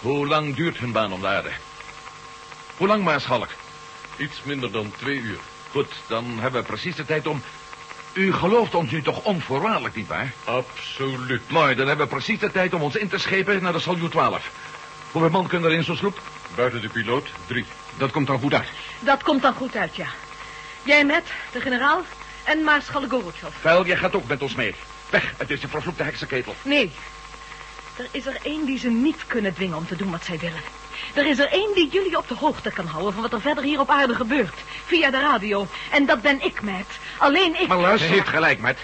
Hoe lang duurt hun baan om de aarde? Hoe lang, Maarschalk? Iets minder dan twee uur. Goed, dan hebben we precies de tijd om... U gelooft ons nu toch onvoorwaardelijk, nietwaar? Absoluut. Mooi, dan hebben we precies de tijd om ons in te schepen naar de Salju 12. Hoeveel man kunnen er in zo'n sloep? Buiten de piloot, drie. Dat komt dan goed uit. Dat komt dan goed uit, ja. Jij met, de generaal en Maarschalk Gorotjov. Vuil, jij gaat ook met ons mee. Weg, het is de vervloekte heksenketel. Nee. Er is er één die ze niet kunnen dwingen om te doen wat zij willen. Er is er één die jullie op de hoogte kan houden van wat er verder hier op aarde gebeurt. Via de radio. En dat ben ik, Matt. Alleen ik... Maar luister... Ze heeft gelijk, Matt.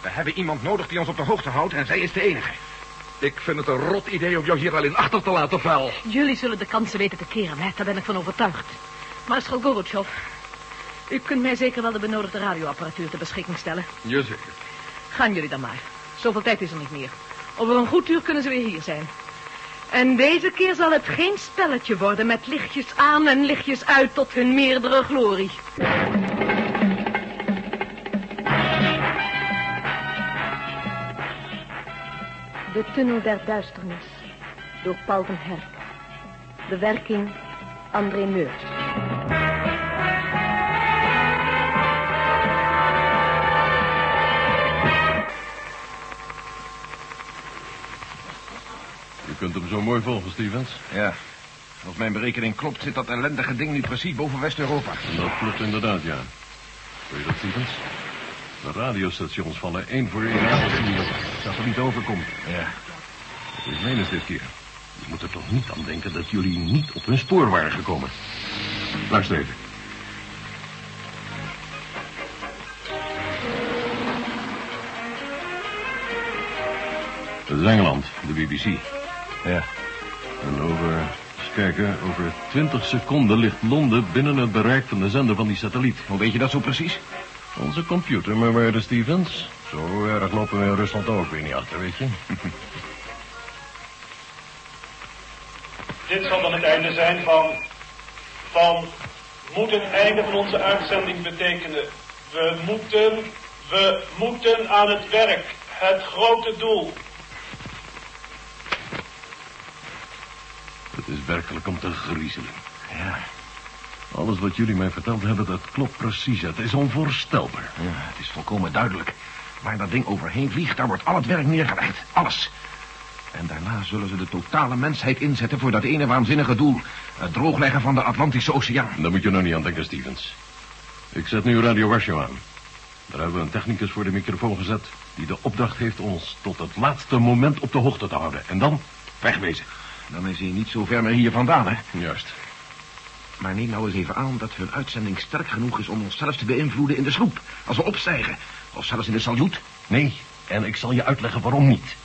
We hebben iemand nodig die ons op de hoogte houdt en zij is de enige. Ik vind het een rot idee om jou hier alleen achter te laten, vuil. Jullie zullen de kansen weten te keren, Matt. Daar ben ik van overtuigd. Maarschalk Gorotjov, u kunt mij zeker wel de benodigde radioapparatuur ter beschikking stellen. Jazeker. Gaan jullie dan maar. Zoveel tijd is er niet meer. Over een goed uur kunnen ze weer hier zijn. En deze keer zal het geen spelletje worden met lichtjes aan en lichtjes uit tot hun meerdere glorie. De Tunnel der Duisternis door Paul van Herk. Bewerking André Meurs. Je kunt hem zo mooi volgen, Stevens. Ja. Als mijn berekening klopt, zit dat ellendige ding nu precies boven West-Europa. En dat klopt inderdaad, ja. Weet je dat, Stevens? De radiostations vallen één voor één uit. Dat er niet overkomt. Ja. Het is menens dit keer. Je moet er toch niet aan denken dat jullie niet op hun spoor waren gekomen. Luister even. Dat is Engeland, de BBC. Ja. En over, eens kijken, over 20 seconden ligt Londen binnen het bereik van de zender van die satelliet. Hoe weet je dat zo precies? Onze computer, mijn waarde Stevens. Zo erg lopen we in Rusland ook weer niet achter, weet je. Dit zal dan het einde zijn van... Van... Moet het einde van onze uitzending betekenen. We moeten... We moeten aan het werk. Het grote doel. Het is werkelijk om te griezelen. Ja. Alles wat jullie mij verteld hebben, dat klopt precies. Het is onvoorstelbaar. Ja, het is volkomen duidelijk. Waar dat ding overheen vliegt, daar wordt al het werk neergelegd. Alles. En daarna zullen ze de totale mensheid inzetten voor dat ene waanzinnige doel. Het droogleggen van de Atlantische Oceaan. Daar moet je nou niet aan denken, Stevens. Ik zet nu Radio Warschau aan. Daar hebben we een technicus voor de microfoon gezet... die de opdracht heeft ons tot het laatste moment op de hoogte te houden. En dan wegwezen. Dan is hij niet zo ver meer hier vandaan, hè? Juist. Maar neem nou eens even aan dat hun uitzending sterk genoeg is om ons zelfs te beïnvloeden in de sloep. Als we opstijgen. Of zelfs in de saljoet. Nee, en ik zal je uitleggen waarom niet.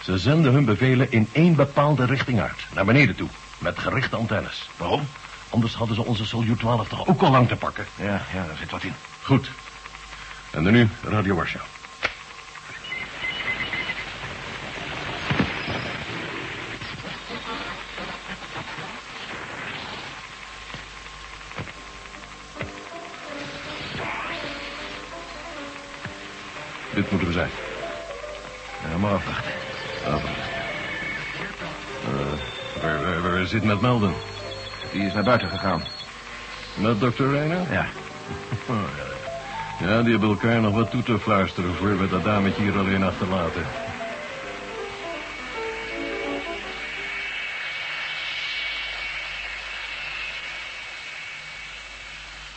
Ze zenden hun bevelen in één bepaalde richting uit. Naar beneden toe. Met gerichte antennes. Waarom? Anders hadden ze onze Soyuz 12 toch ook al lang te pakken. Ja, ja, daar zit wat in. Goed. En dan nu Radio Warschau. Dit moeten we zijn. Ja, maar afwachten. Eh, waar, waar, waar zit met Melden? Die is naar buiten gegaan. Met dokter Reiner? Ja. Ja, die hebben elkaar nog wat toe te fluisteren... voor we dat dametje hier alleen achterlaten.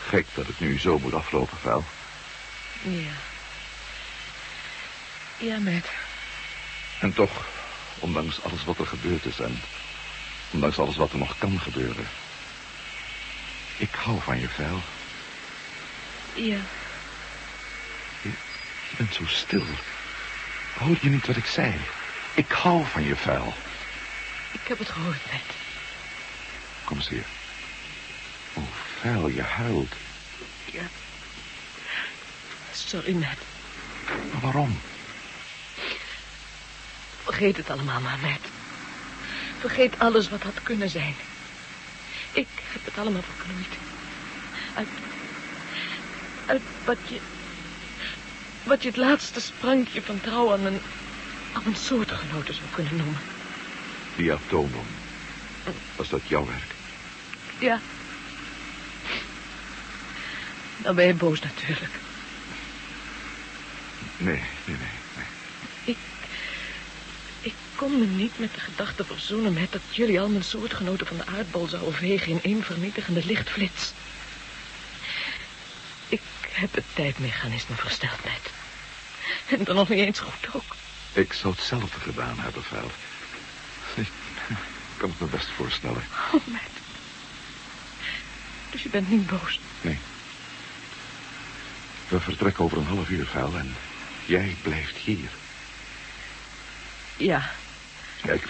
Gek dat het nu zo moet aflopen, vuil. Ja. Ja, Matt. En toch, ondanks alles wat er gebeurd is en ondanks alles wat er nog kan gebeuren. Ik hou van je, vuil. Ja. Je bent zo stil. Hoor je niet wat ik zei? Ik hou van je, vuil. Ik heb het gehoord, Matt. Kom eens hier. Oh, vuil, je huilt. Ja. Sorry, Matt. Maar waarom? Vergeet het allemaal maar, Matt. Vergeet alles wat had kunnen zijn. Ik heb het allemaal verknoeid. uit, uit wat je... Wat je het laatste sprankje van trouw aan een... aan een soortgenote zou kunnen noemen. Die atoombom. Was dat jouw werk? Ja. Dan ben je boos natuurlijk. Nee, nee, nee. nee. Ik, ik kon me niet met de gedachte verzoenen met dat jullie al mijn soortgenoten van de aardbol zouden vegen in één vernietigende lichtflits. Ik heb het tijdmechanisme versteld, net. En dan nog niet eens goed ook. Ik zou hetzelfde gedaan hebben, Vel. Ik kan het me best voorstellen. Oh, Matt. Dus je bent niet boos. Nee. We vertrekken over een half uur, Vel, en jij blijft hier. Ja, Ja, ik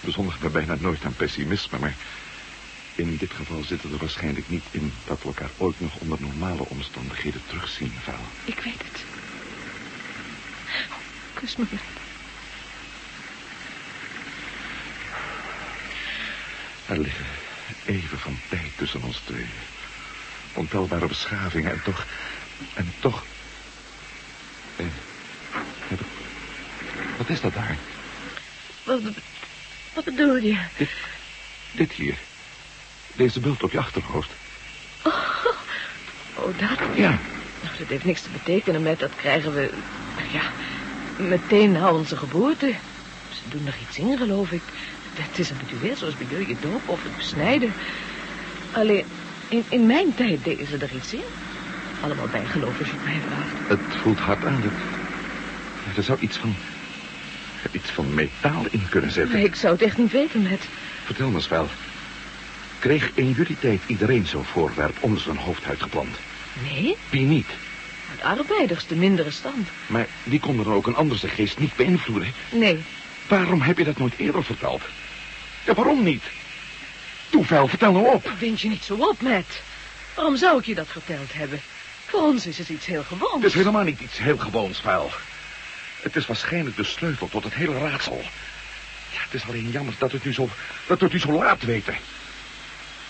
bezondig me bijna nooit aan pessimisme, maar... in dit geval zit het er waarschijnlijk niet in... dat we elkaar ooit nog onder normale omstandigheden terugzien, Val. ik weet het. Oh, Kus me, Matt. Er liggen even van tijd tussen ons twee. Ontelbare beschavingen en toch... En toch... Eh, heb ik- wat is dat daar? Wat, be- wat bedoel je? Dit hier. Deze bult op je achterhoofd. Oh, dat? Ja. Nou, dat heeft niks te betekenen, met dat krijgen we... nou Ja, meteen na onze geboorte. Ze doen er iets in, geloof ik. Het is een ritueel, zoals bij jullie je doop of het besnijden. Alleen, in, in mijn tijd deden ze er iets in. Allemaal bijgeloof, als je het mij vraagt. Het voelt hard aan. Er, er zou iets van... Iets van metaal in kunnen zitten. Nee, ik zou het echt niet weten, met. Vertel me eens wel. Kreeg in jullie tijd iedereen zo'n voorwerp onder zijn hoofdhuid geplant? Nee, Wie niet? de arbeiders, de mindere stand. Maar die konden dan ook een ander zijn geest niet beïnvloeden. Nee, Waarom heb je dat nooit eerder verteld? Ja, waarom niet? Toe, Vel, vertel nou op. wind je niet zo op, Matt. Waarom zou ik je dat verteld hebben? Voor ons is het iets heel gewoons. Het is helemaal niet iets heel gewoons, Vel. Het is waarschijnlijk de sleutel tot het hele raadsel. Ja, het is alleen jammer dat we het nu zo, dat we het nu zo laat weten.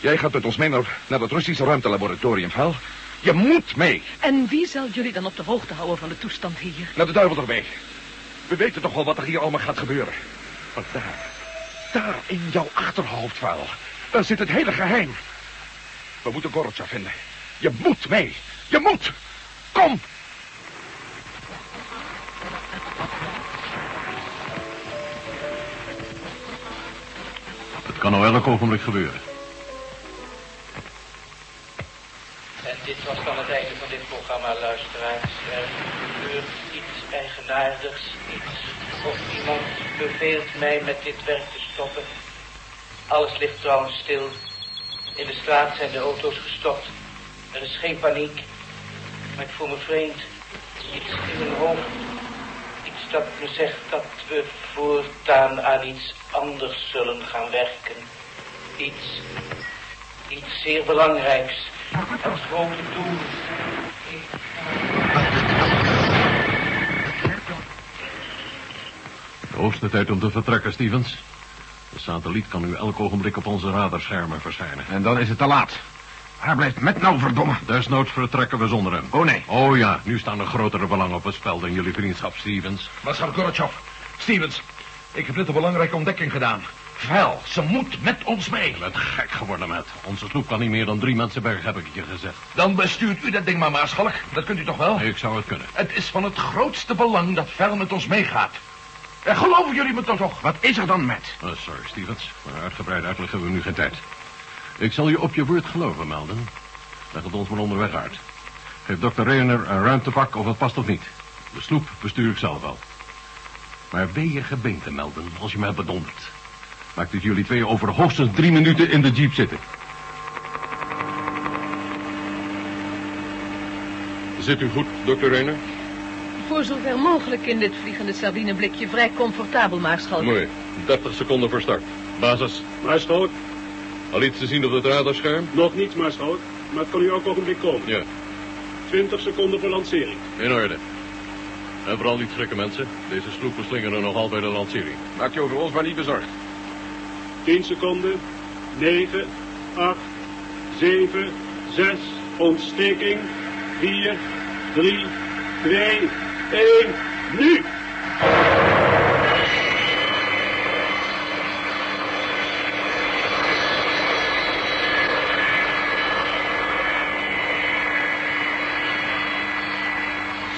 Jij gaat met ons mee naar, naar het Russische ruimtelaboratorium, Vel. Je moet mee. En wie zal jullie dan op de hoogte houden van de toestand hier? Naar de duivel ermee. We weten toch wel wat er hier allemaal gaat gebeuren. Maar daar, daar in jouw achterhoofd wel. Daar zit het hele geheim. We moeten Gorotja vinden. Je moet mee. Je moet. Kom. Het kan nou elk ogenblik gebeuren. En dit was dan het einde van dit programma, luisteraars. Er gebeurt iets eigenaardigs, iets. Of iemand beveelt mij met dit werk te stoppen. Alles ligt trouwens stil. In de straat zijn de auto's gestopt. Er is geen paniek. Maar ik voel me vreemd. Iets in mijn hoofd. Iets dat me zegt dat we voortaan aan iets anders zullen gaan werken. Iets Iets zeer belangrijks. Het grote doel. De hoogste tijd om te vertrekken, Stevens. De satelliet kan nu elk ogenblik op onze radarschermen verschijnen. En dan is het te laat. Waar blijft met nou, verdomme? Desnoods vertrekken we zonder hem. Oh, nee. Oh ja, nu staan er grotere belangen op het spel dan jullie vriendschap, Stevens. Waar gaat Gorotjov? Stevens, ik heb net een belangrijke ontdekking gedaan. Vel, ze moet met ons mee. Je bent gek geworden, met. Onze sloep kan niet meer dan drie mensen berg, heb ik het je gezegd. Oh. Dan bestuurt u dat ding maar, maarschalk. Dat kunt u toch wel? Ik zou het kunnen. Het is van het grootste belang dat Vel met ons meegaat. En geloven jullie me toch nog? Wat is er dan met? Oh, sorry, Stevens. Maar uitgebreid uitleg hebben we nu geen tijd. Ik zal je op je woord geloven, Melden. Leg het ons maar onderweg uit. Geef dokter Rayner een ruimtepak of het past of niet. De sloep bestuur ik zelf wel. Maar ben je gebeente, Melden, als je me hebt bedonderd? Maakt het jullie twee over hoogstens drie minuten in de jeep zitten. Zit u goed, dokter Rayner? Voor zover mogelijk in dit vliegende sabineblikje vrij comfortabel, Maarschalk. 30 seconden voor start. Basis. Maarschalk? Al iets te zien op het radarscherm? Nog niets, Maarschalk. Maar het kan nu elk ogenblik komen. Ja. 20 seconden voor lancering. In orde. En vooral niet schrikken, mensen. Deze sloepen slingeren nogal bij de lancering. Maak je over ons maar niet bezorgd. 10 seconden. 9, 8, 7, 6, Ontsteking. 4, 3, 2, 1, nu!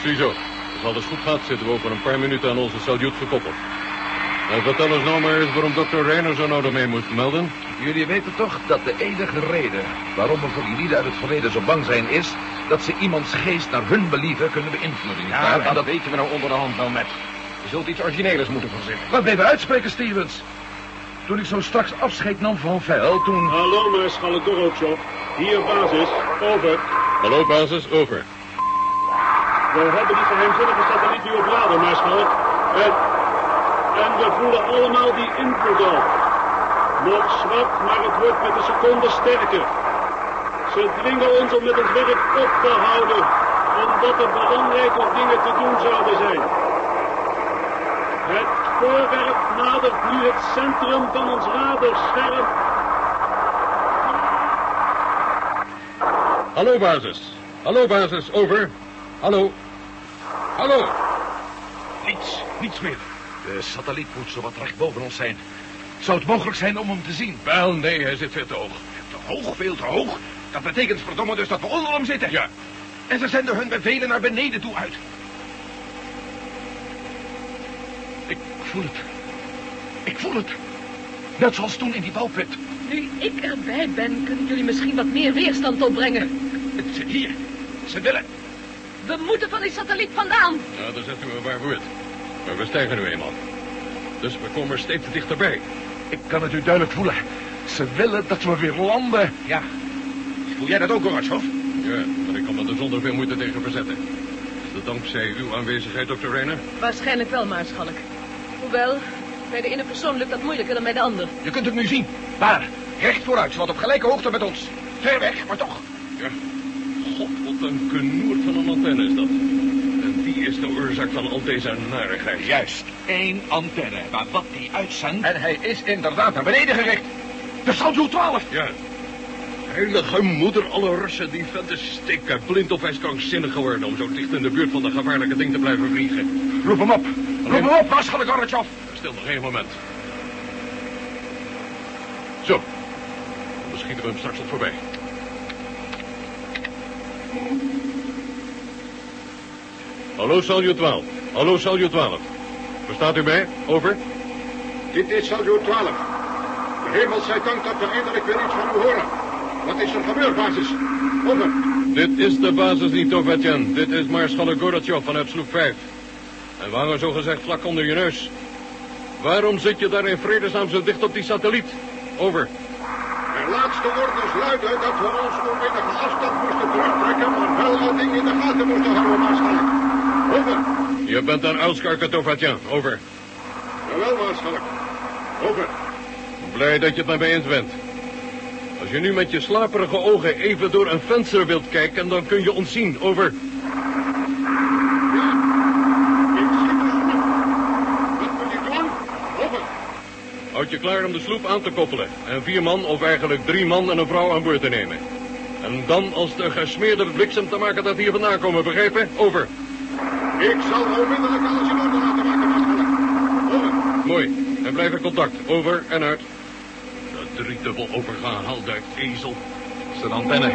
Ziezo. Als alles goed gaat, zitten we over een paar minuten aan onze salut gekoppeld. En vertel ons nou maar eens waarom dokter Reiner zo nodig mee moest melden. Jullie weten toch dat de enige reden waarom we voor die lieden uit het verleden zo bang zijn is... dat ze iemands geest naar hun believen kunnen beïnvloeden. nietwaar? En dat... weten we nou onder de hand wel, met. Je zult iets origineels moeten verzinnen. Wat bleven uitspreken, Stevens? Toen ik zo straks afscheid nam van Veil, toen... Hallo, Maarschalk Dorotjof. Hier basis. Over. Hallo, basis, over. We hebben die geheimzinnige satelliet nu op radar, Maarschalk. En, en we voelen allemaal die invloed al. Nog zwak, maar het wordt met de seconde sterker. Ze dwingen ons om met ons werk op te houden, omdat er belangrijke dingen te doen zouden zijn. Het voorwerp nadert nu het centrum van ons radarscherm. Hallo, basis. Hallo, basis, over. Hallo. Hallo. Niets, niets meer. De satelliet moet zowat recht boven ons zijn. Zou het mogelijk zijn om hem te zien? Wel, nee, hij zit veel te hoog. Te hoog, veel te hoog. Dat betekent verdomme dus dat we onder hem zitten. Ja. En ze zenden hun bevelen naar beneden toe uit. Ik voel het. Ik voel het. Net zoals toen in die bouwput. Nu ik erbij ben, kunnen jullie misschien wat meer weerstand opbrengen. Het zit hier. Ze willen. We moeten van die satelliet vandaan. Nou, daar zetten we een waar woord. Maar we stijgen nu eenmaal. Dus we komen steeds dichterbij. Ik kan het u duidelijk voelen. Ze willen dat we weer landen. Ja. Voel jij dat ook, Gorbachev? Ja, maar ik kan me er zonder veel moeite tegen verzetten. Is dat dankzij uw aanwezigheid, dokter Reiner? Waarschijnlijk wel, Maarschalk. Hoewel, bij de ene persoon lukt dat moeilijker dan bij de ander. Je kunt het nu zien. Waar? Recht vooruit, wat op gelijke hoogte met ons. Ver weg, maar toch. Ja. God, wat een knoert van een antenne is dat. En die is de oorzaak van al deze narigheid. Juist. Eén antenne. Maar wat die uitzendt... En hij is inderdaad naar beneden gericht. De Salju 12! Ja. Heilige moeder, alle Russen, die vent is stikken. Blind of hij is krankzinnig geworden om zo dicht in de buurt van dat gevaarlijke ding te blijven vliegen. Roep hem op. Roep hem op, Maarschalk Gorbachev. Stil nog één moment. Zo. Dan schieten we hem straks al voorbij. Hallo, Salju 12. Hallo, Salju 12. Verstaat u mij? Over. Dit is Saljo 12. De hemel zij dank dat we eindelijk weer iets van u horen. Wat is er gebeurd, basis? Over. Dit is de basis niet, Tovetjan. Dit is Maarschalk Gorbachev vanuit sloep 5. En we hangen zogezegd vlak onder je neus. Waarom zit je daar in vredesnaam zo dicht op die satelliet? Over. De laatste orders luiden dat we ons op enige afstand moesten terugtrekken, maar wel dat ding in de gaten moesten houden, maarschalk. Over. Je bent aan uitskarken, Tovetjan. Over. Jawel, maarschalk. Over. Blij dat je het met mij eens bent. Als je nu met je slaperige ogen even door een venster wilt kijken, dan kun je ons zien. Over. Ja. Ik zie dus niet. Wat moet ik doen? Over. Houd je klaar om de sloep aan te koppelen. En vier man, of eigenlijk drie man en een vrouw aan boord te nemen. En dan als de gesmeerde bliksem te maken dat we hier vandaan komen, begrepen? Over. Ik zal onmiddellijk alles in orde laten maken, maarschalk. Over. Mooi. En blijf in contact. Over en uit. Dat driedubbel overgehaalde ezel. Zijn antenne.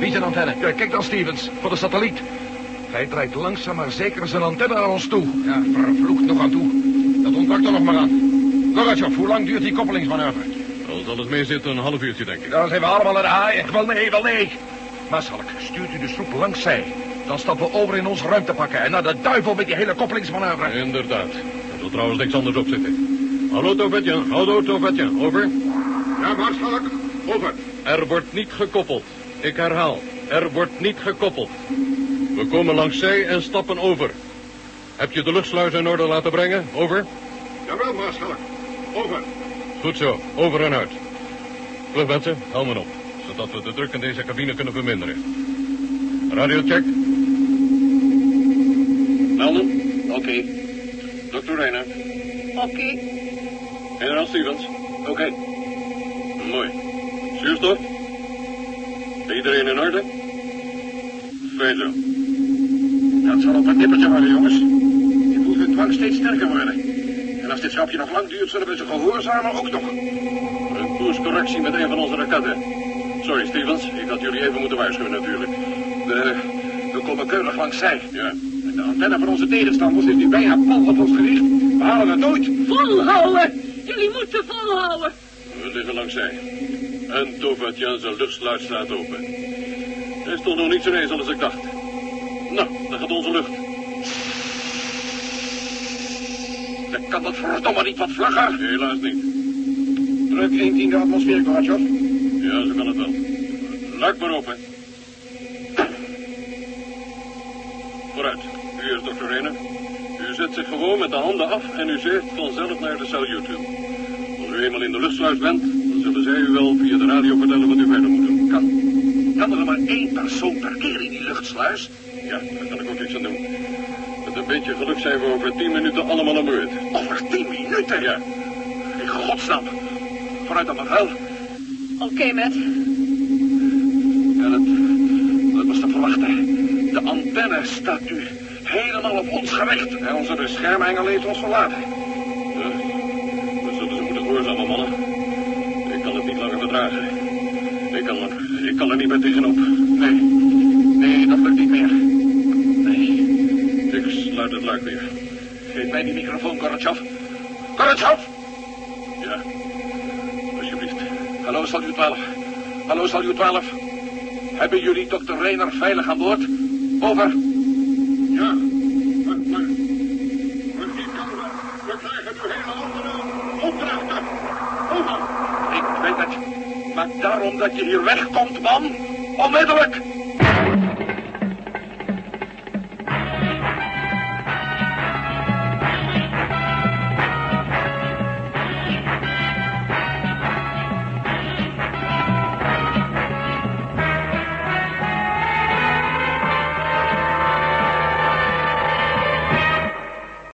Wie zijn antenne? Ja, kijk dan, Stevens, voor de satelliet. Hij draait langzaam maar zeker zijn antenne naar ons toe. Ja, vervloekt nog aan toe. Dat ontbrak er nog maar aan. Gorbachev, hoe lang duurt die koppelingsmanoeuvre? Als alles mee zit, een half uurtje, denk ik. Dan zijn we allemaal naar de haaien. Wel nee, wel nee. Maarschalk, stuurt u de sloep langs zij. Dan stappen we over in ons ruimtepakken en naar de duivel met die hele koppelingsmanoeuvre. Inderdaad. Er zal trouwens niks anders op zitten. Hallo, Tovetjan. Hallo, Tovetjan. Over. Ja, maarschalk. Over. Er wordt niet gekoppeld. Ik herhaal, er wordt niet gekoppeld. We komen langs zij en stappen over. Heb je de luchtsluis in orde laten brengen? Over? Jawel, maarschalk. Over. Goed zo, over en uit. Vlug mensen, helmen op, zodat we de druk in deze cabine kunnen verminderen. Radiocheck. Melden. Oké. Dr. Reiner. Oké. Generaal Stevens. Oké. Mooi. Zuurstof? Iedereen in orde? beter. Dat zal op een nippertje worden, jongens. Ik voel hun dwang steeds sterker worden. En als dit schapje nog lang duurt, zullen we ze gehoorzamen ook nog. Een koerscorrectie met een van onze raketten. Sorry, Stevens. Ik had jullie even moeten waarschuwen, natuurlijk. We, we komen keurig langs zij. Ja. En de antenne van onze tegenstanders is nu bijna pal op ons gericht. We halen het nooit. Volhouden! Jullie moeten volhouden! We liggen langs zij. En Tovatjan zijn luchtsluit slaat open. Hij stond nog niet zo eens als ik dacht. Nou, daar gaat onze lucht. Dan kan dat verdomme niet wat vlagger. Helaas niet. Druk 1 tiende atmosfeer, Gorbachev. Ja, zo kan het wel. Luik maar open. Vooruit. U is dokter Rene. U zet zich gewoon met de handen af en u zeeft vanzelf naar de salut toe. Als u eenmaal in de luchtsluis bent, dan zullen zij u wel via de radio vertellen wat u verder moet doen. Kan, kan er maar één persoon per keer in die luchtsluis? Ja, daar kan ik ook niks aan doen. Met een beetje geluk zijn we over tien minuten allemaal aan beurt. Over tien minuten? Ja. In godsnaam. Vooruit dan maar vuil. Oké, Matt. Ja, dat, dat was te verwachten. De antenne staat nu helemaal op ons gericht. En onze beschermengel heeft ons verlaten. Ja, we zullen ze moeten gehoorzamen, mannen. Ik kan het niet langer verdragen. Ik kan, er- ik kan er niet meer tegenop. Nee, nee, dat lukt niet meer. Nee, Ik sluit het luik weer. geef mij die microfoon, Gorbachev. Gorbachev! Ja, alsjeblieft. Hallo, Salut 12. Hallo, Salut 12. Hebben jullie dokter Reiner veilig aan boord? Over. Ja, maar, maar, maar die kan wel. We krijgen nu hele andere opdrachten. Over. Ik weet het. Maar daarom dat je hier wegkomt, man. Onmiddellijk.